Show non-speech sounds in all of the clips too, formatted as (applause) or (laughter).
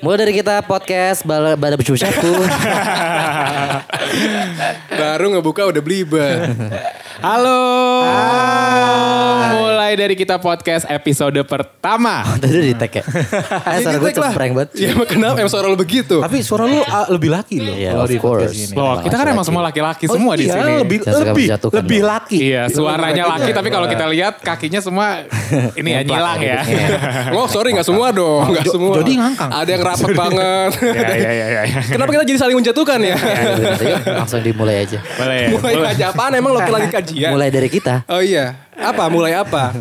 Mulai dari kita podcast Bala Bada Bucu Syaku. (laughs) Baru ngebuka udah belibet. Halo. Mulai dari kita podcast episode pertama. Tadi udah di tag ya. Eh, Ini suara gue tag lah. cempreng banget. Iya. Ya emang kenapa emang suara lo begitu? Tapi suara lu ah, lebih laki loh. Iya, kalau of di podcast course. ini. Loh, Wah, kita kan emang semua laki-laki semua di iya, sini. Lebih Jangan suka lebih menjatuhkan lebih dong. laki. Iya, suaranya laki tapi kalau kita lihat kakinya semua ini ya nyilang ya. gitu. Oh sorry nggak semua dong, nggak semua. Jody ngangkang. Ada yang rapat banget. Ya ya ya ya. Kenapa kita jadi saling menjatuhkan ya? Bener, yuk, Langsung dimulai aja. Boleh. ya? mulai aja apaan? Emang lo lagi kajian? Mulai dari kita. Oh iya. Apa? Mulai apa?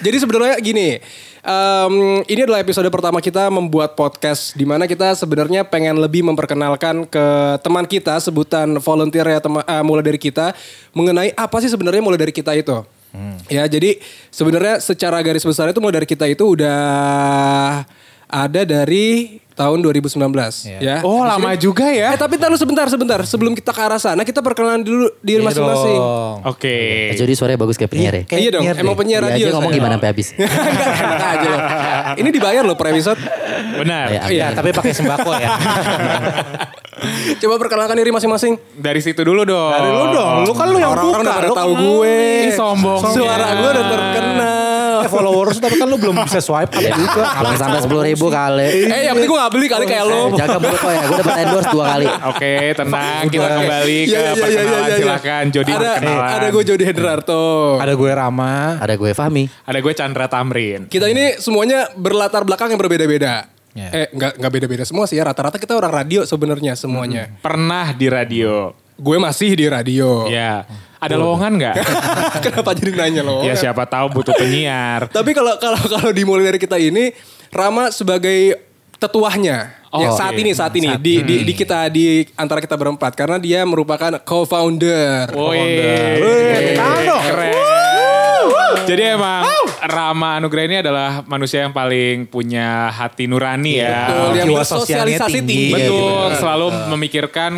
Jadi sebenarnya gini, em, ini adalah episode pertama kita membuat podcast di mana kita sebenarnya pengen lebih memperkenalkan ke teman kita sebutan volunteer ya tema- eh, mulai dari kita mengenai apa sih sebenarnya mulai dari kita itu. Hmm. Ya, jadi sebenarnya secara garis besar itu mulai dari kita itu udah ada dari tahun 2019 ya. Oh, lama juga ya. Eh, tapi taruh sebentar sebentar sebelum kita ke arah sana kita perkenalan dulu Iya diri masing-masing. (laughs) Oke. Jadi suaranya bagus kayak penyiar ya. Kayak iya dong, penyiar emang deh. penyiar Dia radio. aja ngomong saya. (laughs) gimana sampai habis. Iya, Enak aja loh. Ini dibayar loh per episode. Ya, Benar. amin. Iya, tapi pakai sembako (laughs) ya. Coba perkenalkan diri masing-masing. Dari situ dulu dong. Dari lu dong, lu kan lu yang Orang-orang udah buka. pada Lu tahu kan- gue. Ini sombong. Suara gue udah terkenal. Eh, followers tapi kan lu belum bisa swipe gitu. up juga. Belum Iya. sampai 10 ribu kali. Eh yang penting gue gak beli kali kayak lo. Eh, Jaga mulut lo ya. Gue dapat endorse dua kali. Oke, tenang. Kita kembali ke Iya, iya, iya, perkenalan. iya, iya. Silakan Jody Ada, perkenalan. ada gue Jody Hendrarto. Ada gue Rama. Ada gue Fahmi. Ada gue Chandra Tamrin. Kita ini semuanya berlatar belakang yang berbeda-beda. Iya. Eh nggak nggak beda-beda semua sih ya. Rata-rata kita orang radio sebenarnya semuanya. Hmm. Pernah di radio. Gue masih di radio. Ya. Ada lowongan nggak? (laughs) Kenapa jadi nanya lo? ya siapa tahu butuh penyiar. Tapi kalau kalau kalau dimulai dari kita ini Rama sebagai tetuahnya Oh, yang oke. saat ini saat ini di, di di kita di antara kita berempat karena dia merupakan co-founder. Oh, Woi. Tahu dong. Keren. Jadi emang Rama Anugrah ini adalah manusia yang paling punya hati nurani ya. Iya, Betul, yang Jiwa sosialnya bersosialisasi tinggi. tinggi. Iya, gitu. Betul, selalu memikirkan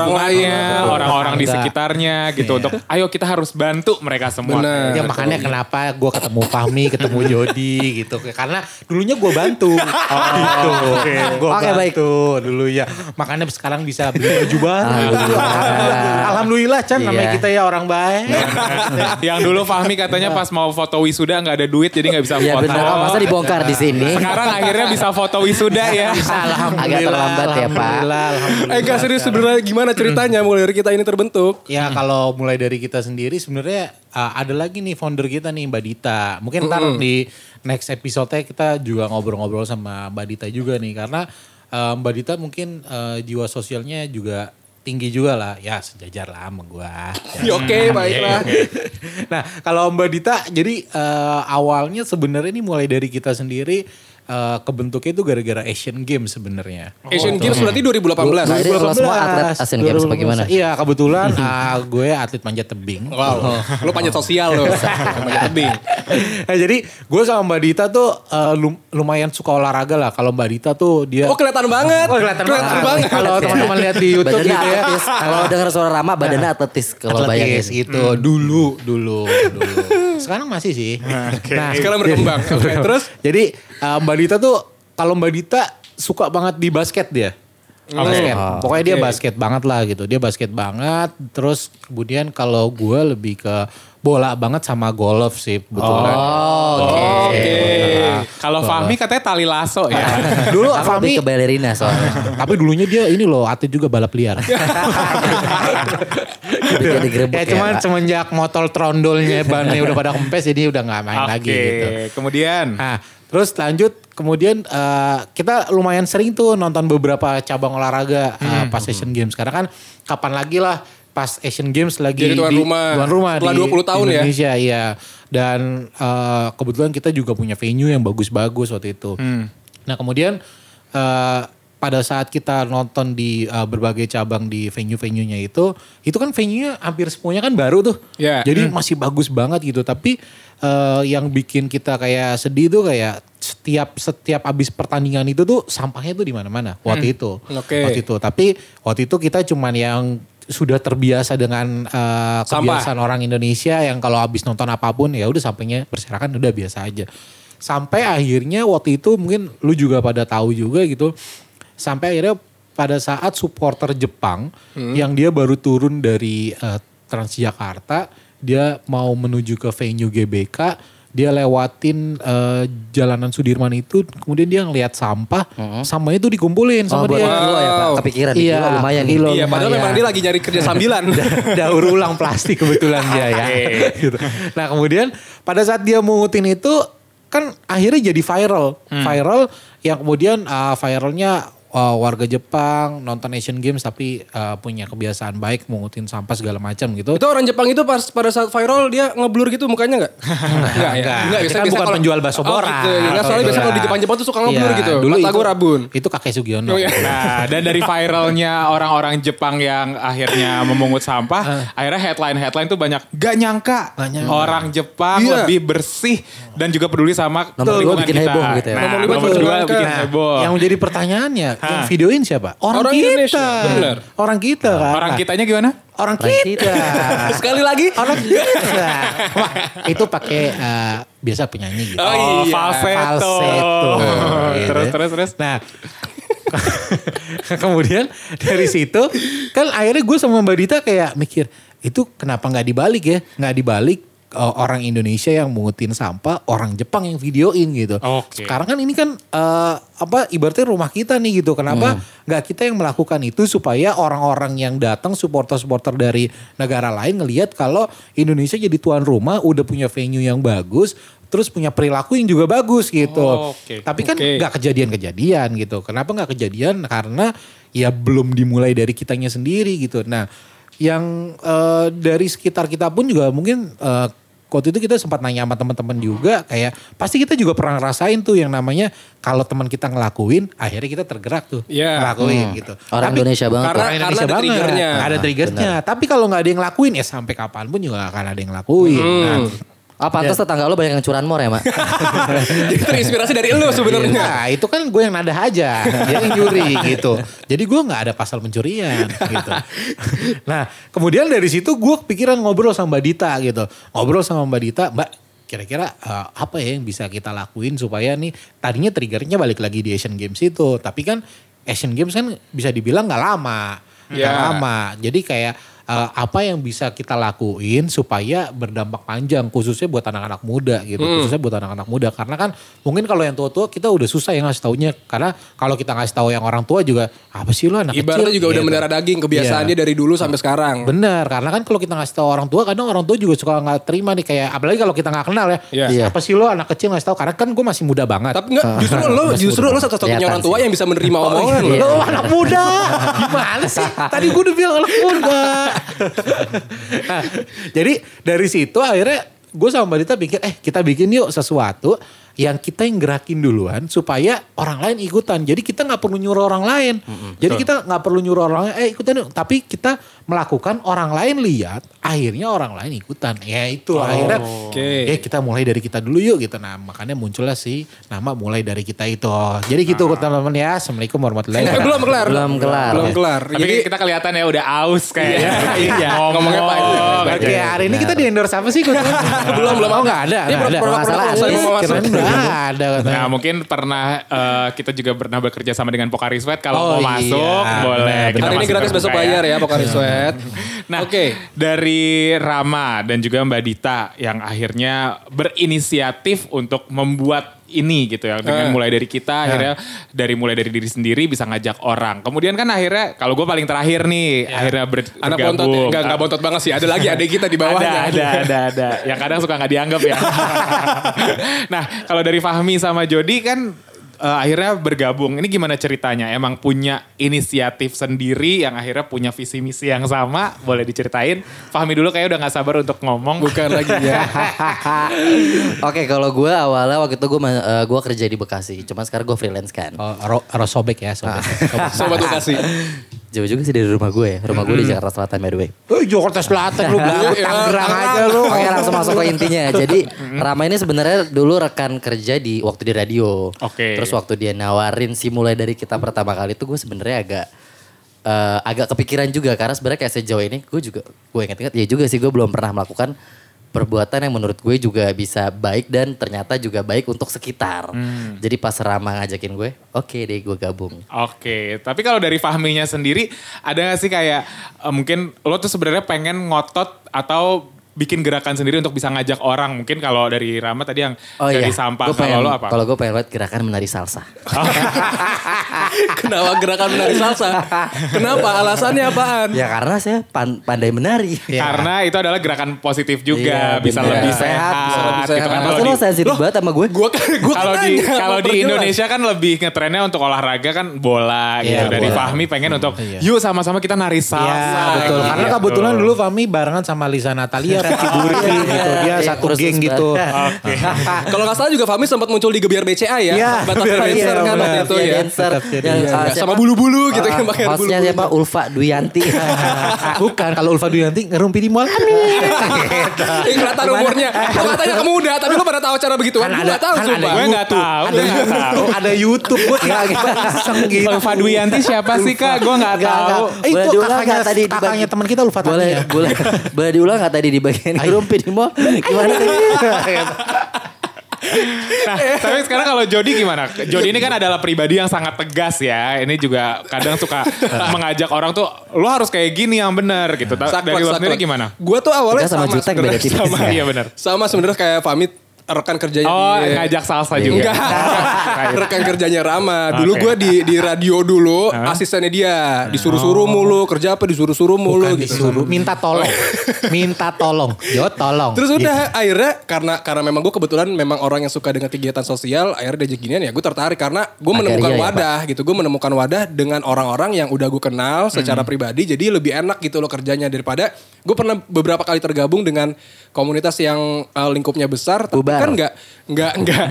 lain. lingkungannya, orang-orang di Enggak. sekitarnya Iya. gitu untuk ayo kita harus bantu mereka semua. Benar. Ya makanya kenapa gue ketemu Fahmi, ketemu Jody gitu. Karena dulunya gue bantu. Oh, (laughs) gitu. Gue Oke, baik. bantu dulu ya. Makanya sekarang bisa beli baju baru. Alhamdulillah. Ah, Alhamdulillah, Alhamdulillah Chan namanya Iya. kita ya orang baik. (laughs) yang dulu Fahmi katanya pas mau foto wisuda nggak ada duit jadi nggak bisa Ya foto. benar. Masa dibongkar di sini? Sekarang akhirnya bisa foto wisuda ya. Agak terlambat ya Pak. Alhamdulillah, alhamdulillah. Eh enggak serius sebenarnya gimana ceritanya mulai dari kita ini terbentuk? Ya kalau mulai dari kita sendiri sebenarnya uh, ada lagi nih founder kita nih Mbak Dita. Mungkin ntar di next episode-nya kita juga ngobrol-ngobrol sama Mbak Dita juga nih karena uh, Mbak Dita mungkin uh, jiwa sosialnya juga tinggi juga lah. Ya sejajar lah sama gua. (laughs) Ya, Oke, baiklah. nah, kalau Mbak Dita jadi eh, awalnya sebenarnya ini mulai dari kita sendiri eh, kebentuknya itu gara-gara Asian Games sebenarnya. Asian Games berarti 2018. Jadi Nah, kalau semua 2018, atlet Asian Games 2018. bagaimana? Iya, (laughs) kebetulan ah, gue atlet panjat tebing. (laughs) Wow, lo panjat sosial lo. panjat tebing. nah, jadi gue sama Mbak Dita tuh eh, lum- lumayan suka olahraga lah. Kalau Mbak Dita tuh dia Oh kelihatan banget. Oh, kelihatan banget. Kalau Iya. teman-teman lihat di YouTube Badannya gitu ya. Ah. atletis. Kalau dengar suara Rama badannya atletis kalau bayangin. atletis gitu. Dulu, dulu, dulu. (laughs) Sekarang masih sih. Nah, Sekarang (laughs) berkembang. Oke, terus Jadi eh, Mbak Dita tuh kalau Mbak Dita suka banget di basket dia. Basket. Pokoknya dia basket banget lah gitu. Dia basket banget. Terus kemudian kalau gue lebih ke bola banget sama golf sih kebetulan. Kalau Fahmi katanya tali lasso ya. Dulu Aku lebih Fahmi ke balerina (laughs) soalnya. tapi dulunya dia ini loh atlet juga balap (laughs) liar. Lebih ke digerebek ya cuman Pak. semenjak motor trondolnya bannya udah pada kempes jadi udah nggak main Oke, lagi gitu. Kemudian Kan? Nah, terus lanjut kemudian eh, kita lumayan sering tuh nonton beberapa cabang olahraga Hmm, eh, pas Asian Games. Karena kan kapan lagi lah pas Asian Games lagi Jadi tuan rumah. tuan rumah Setelah di 20 tahun ya. Indonesia iya. Dan eh, kebetulan kita juga punya venue yang bagus-bagus waktu itu. Nah, kemudian eh, pada saat kita nonton di eh, berbagai cabang di venue-venue-nya itu, itu kan venue-nya hampir semuanya kan baru tuh. Ya. Jadi jadi masih bagus banget gitu. Tapi eh, yang bikin kita kayak sedih tuh kayak setiap setiap abis pertandingan itu tuh sampahnya tuh di mana-mana waktu itu. Oke. Waktu itu. Tapi waktu itu kita cuman yang sudah terbiasa dengan eh, Sampah. kebiasaan orang Indonesia yang kalau abis nonton apapun ya udah sampahnya berserakan udah biasa aja. Sampai akhirnya waktu itu mungkin lu juga pada tahu juga gitu. sampai akhirnya pada saat supporter Jepang Hmm. yang dia baru turun dari eh, Transjakarta dia mau menuju ke venue GBK dia lewatin eh, jalanan Sudirman itu kemudian dia ngelihat sampah sampahnya itu dikumpulin Hmm. Oh, sama buat dia kilo ya Pak. Kepikiran di Iya, kilo lumayan ya. nih. kilo. Iya, padahal lumayan. memang dia lagi nyari kerja sambilan. daur ulang plastik kebetulan dia ya. Gitu. Nah kemudian pada saat dia mengutin itu kan akhirnya jadi viral, Hmm. viral yang kemudian uh, viralnya uh, warga Jepang nonton Asian Games tapi uh, punya kebiasaan baik mengutin sampah segala macam gitu. itu orang Jepang itu pas pada saat viral dia ngeblur gitu (laughs) mukanya nggak? Enggak Enggak. Dia kan bukan penjual bakso borak. Oh, gitu. Nggak, soalnya Gitu biasanya kalau di lah. Jepang-Jepang tuh suka ngeblur Iya, gitu. Dulu Mata itu- gue (laughs) rabun. Itu kakek Sugiono. Oh, iya. Nah, dan dari viralnya orang-orang Jepang yang akhirnya memungut sampah, akhirnya headline-headline tuh banyak gak nyangka, orang Jepang Iya. lebih bersih dan juga peduli sama Nomor lima lingkungan bikin heboh gitu ya. Nah, Nomor nomor, lima tuh kan. dua langka. bikin Nah, heboh. yang menjadi pertanyaannya, yang videoin siapa? iya. Orang, Orang kita. Indonesia, bener. Orang kita kan. Orang kitanya gimana? Orang Orang kita. Sekali lagi. (laughs) Orang kita. Wah, itu pakai eh, biasa penyanyi gitu. Oh, iya. falsetto. Falsetto, gitu. terus terus terus. Nah, (laughs) kemudian dari situ kan akhirnya gue sama Mbak Dita kayak mikir itu kenapa nggak dibalik ya? Nggak dibalik eh, orang Indonesia yang mengutin sampah, orang Jepang yang videoin gitu. Oke. Sekarang kan ini kan eh, apa ibaratnya rumah kita nih gitu. Kenapa nggak kita yang melakukan itu supaya orang-orang yang datang supporter-supporter dari negara lain ngelihat kalau Indonesia jadi tuan rumah, udah punya venue yang bagus, terus punya perilaku yang juga bagus gitu. Oh, oke. Tapi kan Oke. nggak nggak kejadian-kejadian gitu. Kenapa nggak kejadian? Karena ya belum dimulai dari kitanya sendiri gitu. Nah, yang eh, dari sekitar kita pun juga mungkin eh, waktu itu kita sempat nanya sama teman-teman juga kayak pasti kita juga pernah ngerasain tuh yang namanya kalau teman kita ngelakuin akhirnya kita tergerak tuh Iya. ngelakuin gitu. Hmm. Orang Tapi- Indonesia banget. Nah, karena- Pak. Orang Indonesia ada banget. triggernya. Ada triggernya. Tapi kalau nggak ada yang ngelakuin ya sampai kapanpun juga nggak akan ada yang ngelakuin. Hmm. Nah, Ah pantas tetangga lo banyak yang curanmor (laughs) ya Mak. Jadi terinspirasi dari lu sebenarnya. Nah itu kan gue yang nadah aja. Dia yang nyuri gitu. Jadi gue gak ada pasal pencurian gitu. Nah kemudian dari situ gue kepikiran ngobrol sama Mbak Dita gitu. Ngobrol sama Mbak Dita. Mbak kira-kira eh, apa ya yang bisa kita lakuin supaya nih. Tadinya triggernya balik lagi di Asian Games itu. Tapi kan Asian Games kan bisa dibilang gak lama. Hmm. Gak Ya. lama. Jadi kayak eh, apa yang bisa kita lakuin supaya berdampak panjang khususnya buat anak-anak muda gitu Hmm. khususnya buat anak-anak muda karena kan mungkin kalau yang tua-tua kita udah susah ya ngasih taunya karena kalau kita ngasih tahu yang orang tua juga apa sih lu anak Ibaratnya kecil juga udah Gitu. mendarah daging kebiasaannya dari dulu sampai sekarang. Bener, karena kan kalau kita ngasih tahu orang tua, kadang orang tua juga suka nggak terima nih kayak apalagi kalau kita nggak kenal ya. Iya. Iya. Apa sih lo anak kecil ngasih tahu? Karena kan gue masih muda banget. Tapi enggak, justru lo justru lo satu-satunya Kelihatan orang tua sih. yang bisa menerima omongan iya. lo. Lo anak muda, gimana sih? Tadi gue udah bilang anak muda. Nah, (laughs) jadi dari situ akhirnya gue sama Mbak Dita pikir, eh kita bikin yuk sesuatu yang kita yang gerakin duluan supaya orang lain ikutan. Jadi kita nggak perlu nyuruh orang lain. Jadi kita nggak perlu nyuruh orang lain, eh ikutan yuk. Tapi kita melakukan orang lain lihat, akhirnya orang lain ikutan. Ya itu akhirnya, oke. eh kita mulai dari kita dulu yuk gitu. Nah makanya muncullah sih nama mulai dari kita itu. Jadi gitu teman-teman ya. Assalamualaikum warahmatullahi Eh, wabarakatuh. belum kelar. Belum kelar. Belum kelar. Tapi Jadi kita kelihatan ya udah aus kayaknya. Iya. Ngomongnya panjang. panjang. Oke, hari ini kita di endorse apa sih? (laughs) belum, belum. Oh, enggak ada. Nah, Ini Enggak ada. produk- produk- Nggak produk- masalah. produk- Kirain nggak ada. katanya. Nah mungkin pernah eh, kita juga pernah bekerja sama dengan Pokari Sweat. Oh, Kalau iya. mau masuk boleh. Benar, Kita hari ini masuk gratis besok terbuka ya. bayar ya Iya. Pokari Sweat. Nah, Oke. dari Rama dan juga Mbak Dita yang akhirnya berinisiatif untuk membuat ini gitu ya dengan Eh. mulai dari kita akhirnya dari mulai dari diri sendiri bisa ngajak orang. Kemudian kan akhirnya kalau gue paling terakhir nih akhirnya ber, Iya. Anak bergabung. bontot, ya? enggak enggak bontot banget sih. Ada lagi ada kita di ya? bawahnya. Ada, ada, ada, ada. Yang kadang suka nggak dianggap (laughs) ya. nah, kalau dari Fahmi sama Jody kan eh, akhirnya bergabung. Ini gimana ceritanya? Emang punya inisiatif sendiri yang akhirnya punya visi misi yang sama? Boleh diceritain? Fahmi dulu kayak udah nggak sabar untuk ngomong. Bukan lagi ya. Oke kalau gue awalnya waktu itu gue gua kerja di Bekasi. Cuman sekarang gue freelance kan. Oh, ro- ro- sobek ya, sobek. Sobek. Sobat lokasi. Jauh juga sih dari rumah gue ya. Rumah gue di Jakarta Selatan by the way. (laughs) Eh, Jakarta Selatan lu bilang Iya, Tangerang aja lu. Oke langsung masuk ke (laughs) intinya. Jadi Rama ini sebenarnya dulu rekan kerja di waktu di radio. Oke. Terus waktu dia nawarin sih mulai dari kita pertama kali itu gue sebenarnya agak eh, agak kepikiran juga karena sebenarnya kayak sejauh ini gue juga gue ingat-ingat ya juga sih gue belum pernah melakukan perbuatan yang menurut gue juga bisa baik dan ternyata juga baik untuk sekitar. Hmm. Jadi pas Rama ngajakin gue, oke deh gue gabung. Oke, tapi kalau dari Fahminya sendiri, ada gak sih kayak eh, mungkin lo tuh sebenarnya pengen ngotot atau bikin gerakan sendiri untuk bisa ngajak orang? Mungkin kalau dari Rama tadi yang dari Gue sampah, Oh iya. pengen- iya, kalau lo apa? Kalau gue pengen banget gerakan menari salsa. Kenapa gerakan menari (laughs) salsa? Kenapa? Alasannya apaan? ya karena saya pan- pandai menari. Karena itu adalah gerakan positif Iya, juga, bisa bener. lebih Bisa sehat, bisa Iya lebih gitu sehat. kan. Masa Kalau lo di- sensitif Loh, banget sama gue? Iya, Gua kan gua kalau di tanya, kalau di perjelas. Indonesia kan lebih ngetrennya untuk olahraga kan bola gitu. Iya, Dari bola. Fahmi pengen untuk yuk sama-sama kita nari salsa. Iya betul. gitu. Karena kebetulan dulu Fahmi barengan sama Lisa Natalia, (laughs) Vicky Burki gitu. Dia Iya, satu kursus geng (laughs) gitu. Oke. Kalau nggak salah juga Fahmi sempat muncul di Gebiar BCA ya. Iya, Batak iya, dancer kan benar. waktu itu Iya, ya. dancer. Tetap jadi. Yang, Iya, uh, sama siapa? bulu-bulu gitu Uh, kan pakai bulu. Hostnya siapa? Ulfa (laughs) Duyanti. Nah, Bukan kalau Ulfa Duyanti ngerumpi di mall. Ini kelihatan umurnya. Lo katanya kamu muda, tapi lo pada tahu cara begitu. Kan ada- gak tahu kan ada sumpah. Gue nggak tahu. ada YouTube, ada YouTube gue Iya, nggak gitu. Iseng gitu. Ulfa Duyanti siapa sih kak? Gue nggak Nggak, tahu. nggak. Boleh Eh, itu diulang kakaknya, nggak tadi di kakaknya bagi- teman kita Ulfa boleh, ya. Tania. boleh, boleh diulang gak tadi di bagian rumpi di (laughs) mall? Gimana tadi? Iya. Nah, tapi sekarang kalau Jody gimana? Jody ini kan adalah pribadi yang sangat tegas ya. Ini juga kadang suka mengajak orang tuh, lo harus kayak gini yang bener gitu. Ta- Dari lo sendiri gimana? Gue tuh awalnya Kita sama sama, Jutek beda sebenarnya. tipis. Sama iya bener. Sama sebenarnya kayak Fahmi rekan kerjanya Oh, di- ngajak salsa Iya. juga. Ya, Enggak, (laughs) rekan kerjanya Rama. Dulu Oke. Oh. gue di di radio dulu, asistennya dia disuruh-suruh mulu, kerja apa disuruh-suruh mulu Bukan gitu. disuruh, minta (laughs) tolong, minta tolong, yo tolong. Terus udah Gitu. akhirnya karena karena memang gue kebetulan memang orang yang suka dengan kegiatan sosial akhirnya diajak ginian ya gue tertarik karena gue Akhirnya menemukan ya, wadah gitu gue menemukan wadah dengan orang-orang yang udah gue kenal secara Hmm. pribadi jadi lebih enak gitu loh kerjanya daripada gue pernah beberapa kali tergabung dengan komunitas yang uh, lingkupnya besar tapi Bubar. kan nggak nggak (laughs) nggak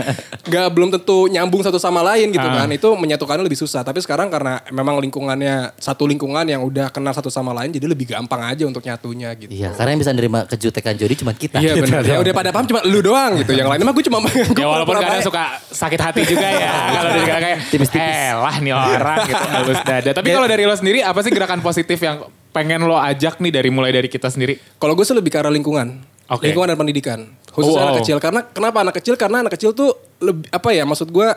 nggak belum tentu nyambung satu sama lain gitu Ah. kan itu menyatukannya lebih susah tapi sekarang karena memang lingkungannya satu lingkungan yang udah kenal satu sama lain jadi lebih gampang aja untuk nyatunya gitu Iya, karena yang bisa nerima kejutekan Jody cuma kita. Gitu. Iya benar. Ya udah pada paham cuma lu doang gitu. Yang lain mah gue cuma (laughs) gue Ya walaupun pura-pura kadang baik. suka sakit hati juga ya. (laughs) kalau dari kakak kayak, Tipis-tipis. eh lah nih orang gitu. Halus dada. Tapi kalau dari lo sendiri, apa sih gerakan positif yang pengen lo ajak nih dari mulai dari kita sendiri? Kalau gue sih lebih ke arah lingkungan. Oke. Lingkungan dan pendidikan. Khususnya Oh, anak oh. kecil karena kenapa anak kecil? Karena anak kecil tuh lebih apa ya maksud gue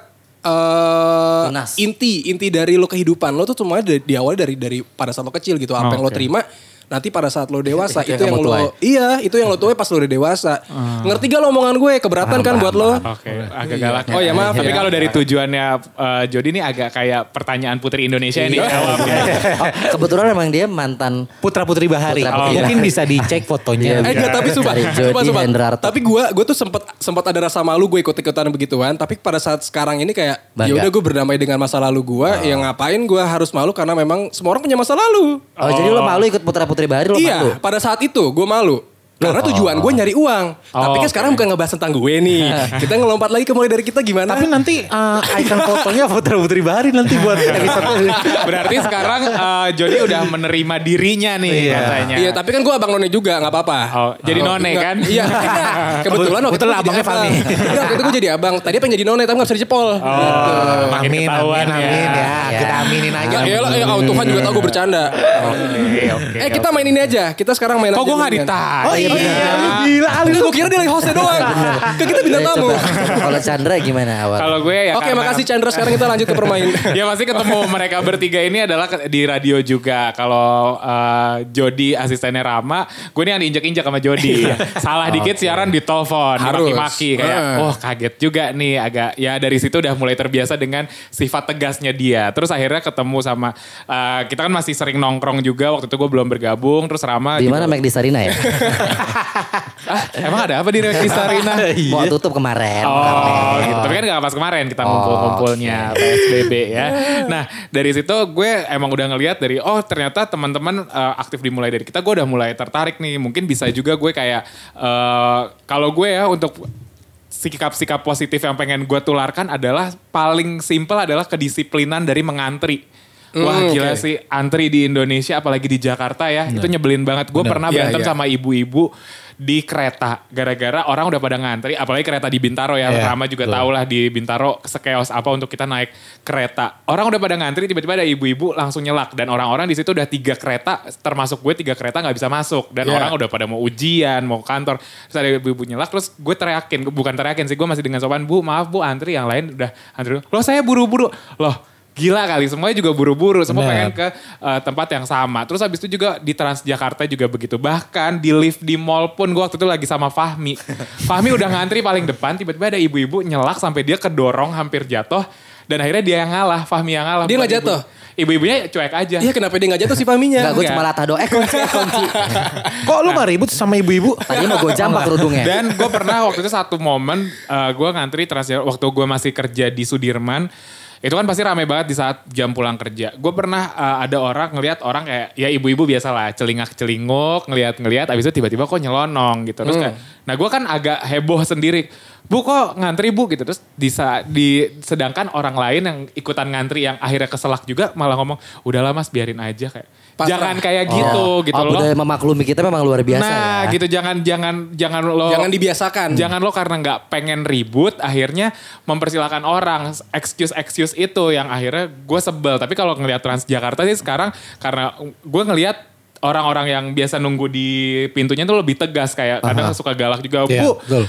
eh Lunas. inti inti dari lo kehidupan lo tuh semuanya dari, diawali dari dari pada saat lo kecil gitu apa yang lo terima nanti pada saat lo dewasa Itu itu, yang yang, kamu lo tuai. Ah. iya itu yang lo tuai pas lo udah dewasa ngerti gak lo omongan gue keberatan kan buat lo Oke, agak galak. Oh, ya, maaf iya, Tapi ya. kalau dari tujuannya eh, Jody ini agak kayak pertanyaan Putri Indonesia ini Iya. jawab ya. Oh, kebetulan emang dia mantan Putra Putri Bahari, Iya, Putra-putri mungkin bisa dicek fotonya. Eh enggak, tapi sumpah, Dari Iya. Jody sumpah, sumpah. Hendrarto. Tapi gue gue tuh sempat sempat ada rasa malu gue ikut-ikutan begituan, tapi pada saat sekarang ini kayak Bangga. ya udah gue berdamai dengan masa lalu gue, yang ngapain gue harus malu karena memang semua orang punya masa lalu. Oh, jadi lo malu ikut putra putri bahari lo malu? Oh. Iya, pada saat itu gue malu. Karena tujuan gue nyari uang. Tapi kan sekarang bukan ngebahas tentang gue (laughs) nih. kita ngelompat lagi ke mulai dari kita gimana? Tapi nanti eh, icon fotonya Putra Putri Bahari nanti buat episode. Berarti sekarang eh, Jody udah menerima dirinya nih katanya. Iya, tapi kan gue abang none juga, nggak apa-apa. Oh, jadi none Nggak- kan? (laughs) Iya. Kebetulan waktu itu gua Kebetulan jadi abangnya Fahmi. Iya, waktu itu gue jadi abang. Tadi pengen jadi none, tapi nggak bisa dicepol. Oh, makin Amin, ketahuan amin, amin ya. Ya. Kita aminin aja. Ya elah, ya Allah, Tuhan juga tahu gue bercanda. Oke, oke. Eh kita main ini aja, kita sekarang main aja Kok gue gak dulu, kan? ditanya? Oh iya, lu gila. Ah, gue kira dia lagi hostnya doang. Kan kita bintang Eh, tamu. coba, Kalau Chandra gimana awal? Kalau gue ya Oke karena- makasih Chandra, sekarang kita lanjut ke (laughs) permainan. (laughs) ya pasti ketemu mereka bertiga ini adalah ke- di radio juga. Kalau eh, Jody asistennya Rama, gue ini yang diinjak-injak sama Jody. Iya. Salah dikit siaran ditelepon, Harus. dimaki-maki kayak, Eh. "Wah, kaget juga nih agak." Ya dari situ udah mulai terbiasa dengan sifat tegasnya dia. Terus akhirnya ketemu sama eh, kita kan masih sering nongkrong juga. Waktu itu gue belum bergabung, terus Rama Di gitu. mana Mac di Sarina (laughs) ya? Ah, emang ada apa di Rekti (laughs) Sarina? Mau tutup kemarin. Iya. Oh, gitu. Tapi kan Iya. gak pas kemarin kita Oh, ngumpul-ngumpulnya PSBB (laughs) ya. Nah, dari situ gue emang udah ngelihat dari oh ternyata teman-teman eh, aktif dimulai dari kita, gue udah mulai tertarik nih. Mungkin bisa juga gue kayak eh, kalau gue ya untuk sikap-sikap positif yang pengen gue tularkan adalah paling simpel adalah kedisiplinan dari mengantri. Wah Hmm, gila oke. sih antri di Indonesia apalagi di Jakarta ya itu nyebelin banget. Gue pernah Iya, berantem iya. sama ibu-ibu di kereta gara-gara orang udah pada ngantri apalagi kereta di Bintaro ya Iya, Rama juga betul. tahu lah di Bintaro sekeos apa untuk kita naik kereta orang udah pada ngantri tiba-tiba ada ibu-ibu langsung nyelak dan orang-orang di situ udah tiga kereta termasuk gue tiga kereta nggak bisa masuk dan Iya. orang udah pada mau ujian mau ke kantor terus ada ibu-ibu nyelak terus gue teriakin bukan teriakin sih gue masih dengan sopan bu maaf bu antri yang lain udah antri loh saya buru-buru loh gila kali semuanya juga buru-buru semua Benar. pengen ke eh, tempat yang sama terus habis itu juga di Transjakarta juga begitu bahkan di lift di mall pun gue waktu itu lagi sama (laughs) Fahmi Fahmi udah ngantri paling depan tiba-tiba ada ibu-ibu nyelak sampai dia kedorong hampir jatuh dan akhirnya dia yang ngalah Fahmi yang ngalah Dia bukan nggak ibu- jatuh? ibu-ibunya cuek aja Iya kenapa dia gak jatuh sih Fahminya? Enggak, gue enggak. cuma latah doa. Eh, kunci, eh, (laughs) kunci. Kok lu mah ribut sama ibu-ibu? Tadi mau gue jambak kerudungnya. (laughs) Dan gue pernah waktu itu satu momen eh, gue ngantri transjakarta waktu gue masih kerja di Sudirman itu kan pasti rame banget di saat jam pulang kerja. Gue pernah eh, ada orang ngelihat orang kayak ya ibu-ibu biasalah celingak-celinguk ngelihat-ngelihat abis itu tiba-tiba kok nyelonong gitu. Hmm. Terus kayak, nah gue kan agak heboh sendiri. Bu kok ngantri bu gitu terus di, sa- di sedangkan orang lain yang ikutan ngantri yang akhirnya keselak juga malah ngomong udahlah mas biarin aja kayak Pasrah. jangan kayak gitu gitu oh, loh. budaya memaklumi kita memang luar biasa nah ya. gitu jangan jangan jangan lo Oh. Jangan dibiasakan. Jangan lo karena nggak pengen ribut, akhirnya mempersilahkan orang excuse excuse itu yang akhirnya gue sebel. Tapi kalau ngelihat Transjakarta sih sekarang karena gue ngelihat orang-orang yang biasa nunggu di pintunya tuh lebih tegas kayak kadang suka galak juga Iya, bu. betul.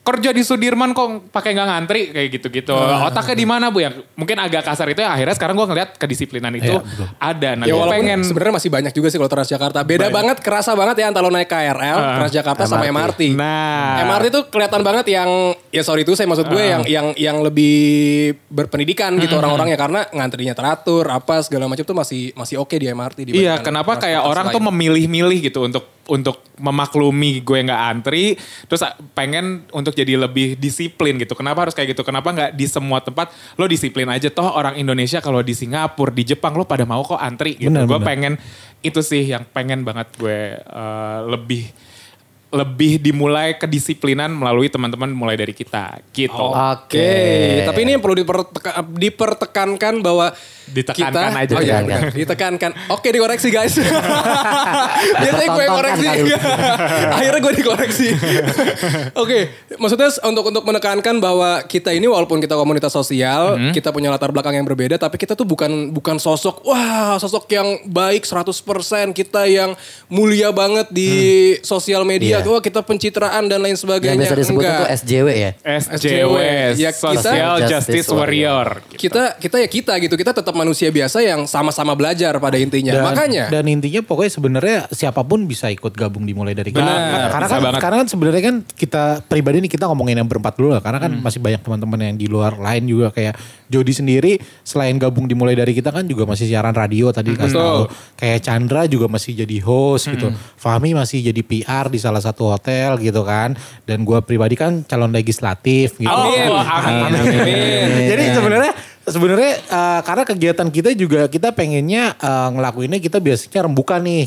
Kerja di Sudirman kok pakai nggak ngantri kayak gitu-gitu. Otaknya di mana bu? Yang mungkin agak kasar itu ya, akhirnya sekarang gue ngelihat kedisiplinan itu Iya, betul. ada. Nah, Ya gue walaupun pengen sebenarnya masih banyak juga sih kalau Transjakarta. Beda banget, kerasa banget ya antara lo naik KRL, Transjakarta sama MRT. Nah. MRT tuh kelihatan banget yang ya sorry itu saya maksud gue yang yang yang lebih berpendidikan gitu orang-orangnya karena ngantrinya teratur, apa segala macam tuh masih masih oke di MRT di Iya, kenapa kayak orang tuh memilih-milih gitu untuk untuk memaklumi gue nggak antri, terus ah, pengen untuk jadi lebih disiplin gitu. Kenapa harus kayak gitu? Kenapa nggak di semua tempat lo disiplin aja? Toh orang Indonesia kalau di Singapura, di Jepang lo pada mau kok antri gitu. Benar, gue benar. pengen itu sih yang pengen banget gue eh, lebih lebih dimulai kedisiplinan melalui teman-teman mulai dari kita gitu. Oh. Oke. Oke, tapi ini yang perlu diperteka- dipertekankan bahwa Ditekankan kita, aja. Oh iya, Ditekankan. benar. ditekankan. Oke, (laughs) dikoreksi guys. Biasanya gue yang koreksi. (laughs) Akhirnya gue dikoreksi. Oke, maksudnya s- untuk untuk menekankan bahwa kita ini walaupun kita komunitas sosial, Mm-hmm. kita punya latar belakang yang berbeda, tapi kita tuh bukan bukan sosok wah, sosok yang baik 100%, kita yang mulia banget di sosial media. Iya. Wah, kita pencitraan dan lain sebagainya. Yang biasa disebut Enggak. itu SJW ya. SJW, Ya, kita- Social Justice, Justice Warrior. kita kita ya kita gitu kita tetap manusia biasa yang sama-sama belajar pada intinya Dan, makanya dan intinya pokoknya sebenarnya siapapun bisa ikut gabung dimulai dari kita. Benar, karena bisa kan banget. karena kan sebenarnya kan kita pribadi nih kita ngomongin yang berempat dulu lah karena kan Hmm. masih banyak teman-teman yang di luar lain juga kayak Jody sendiri selain gabung dimulai dari kita kan juga masih siaran radio tadi kasih tahu. Kayak Chandra juga masih jadi host gitu. Hmm. Fahmi masih jadi PR di salah satu hotel gitu kan. Dan gua pribadi kan calon legislatif gitu. Amin. Amin. Amin. (laughs) Jadi sebenarnya sebenarnya eh, karena kegiatan kita juga kita pengennya eh, ngelakuinnya kita biasanya rembukan nih.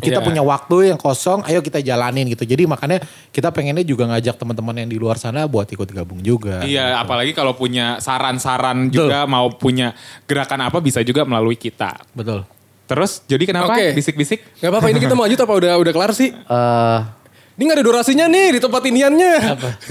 Kita Iya. punya waktu yang kosong, ayo kita jalanin gitu. Jadi makanya kita pengennya juga ngajak teman-teman yang di luar sana buat ikut gabung juga. Iya, apalagi kalau punya saran-saran juga mau punya gerakan apa bisa juga melalui kita. Betul. Terus jadi kenapa Oke. bisik-bisik? nggak apa-apa ini kita mau lanjut apa udah udah kelar sih Eh, ini nggak ada durasinya nih di tempat iniannya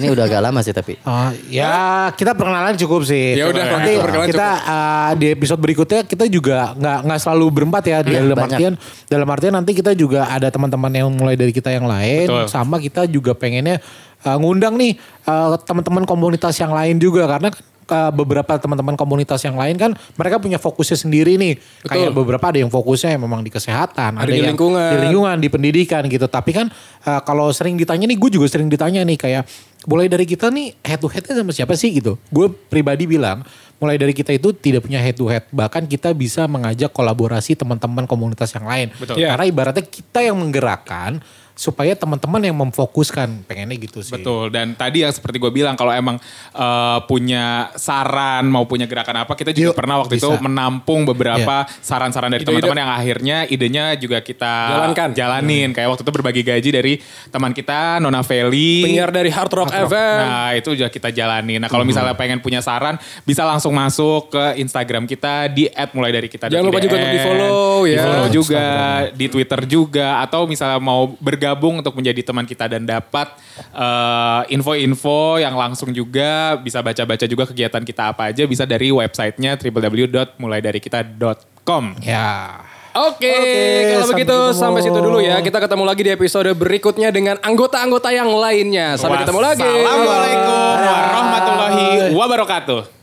ini udah agak lama sih tapi. Ah, ya kita perkenalan cukup sih. Ya udah, kalau nanti gitu perkenalan kita ah, di episode berikutnya kita juga nggak nggak selalu berempat Iya, ya dalam banyak. artian dalam artian nanti kita juga ada teman-teman yang mulai dari kita yang lain Betul. sama kita juga pengennya ah, ngundang nih ah, teman-teman komunitas yang lain juga karena ah, beberapa teman-teman komunitas yang lain kan mereka punya fokusnya sendiri nih kayak beberapa ada yang fokusnya yang memang di kesehatan ada, di yang lingkungan. di lingkungan di pendidikan gitu tapi kan eh, kalau sering ditanya nih gue juga sering ditanya nih kayak mulai dari kita nih head to headnya sama siapa sih gitu gue pribadi bilang mulai dari kita itu tidak punya head to head bahkan kita bisa mengajak kolaborasi teman-teman komunitas yang lain Betul. karena ibaratnya kita yang menggerakkan supaya teman-teman yang memfokuskan pengennya gitu sih Betul. Dan tadi yang seperti gue bilang kalau emang eh, punya saran mau punya gerakan apa kita Yuk, juga pernah waktu itu bisa. Iya. menampung beberapa saran-saran dari Ide-ide. teman-teman yang akhirnya idenya juga kita Jalankan. jalanin. Kayak waktu itu berbagi gaji dari teman kita Nona Feli. penyiar dari Hard Rock FM Nah itu udah kita jalani. Nah kalau Mhm. misalnya pengen punya saran bisa langsung masuk ke Instagram kita di app mulai dari kita. Jangan lupa juga untuk di-follow, di ya. follow juga, di Twitter juga. Atau misalnya mau bergabung bergabung untuk menjadi teman kita dan dapat eh, info-info yang langsung juga bisa baca-baca juga kegiatan kita apa aja bisa dari websitenya www.mulaidarikita.com. Ya. Oke, Oke, kalau sampai begitu ketemu. sampai situ dulu ya. Kita ketemu lagi di episode berikutnya dengan anggota-anggota yang lainnya. Sampai ketemu lagi. Wassalamualaikum warahmatullahi wabarakatuh.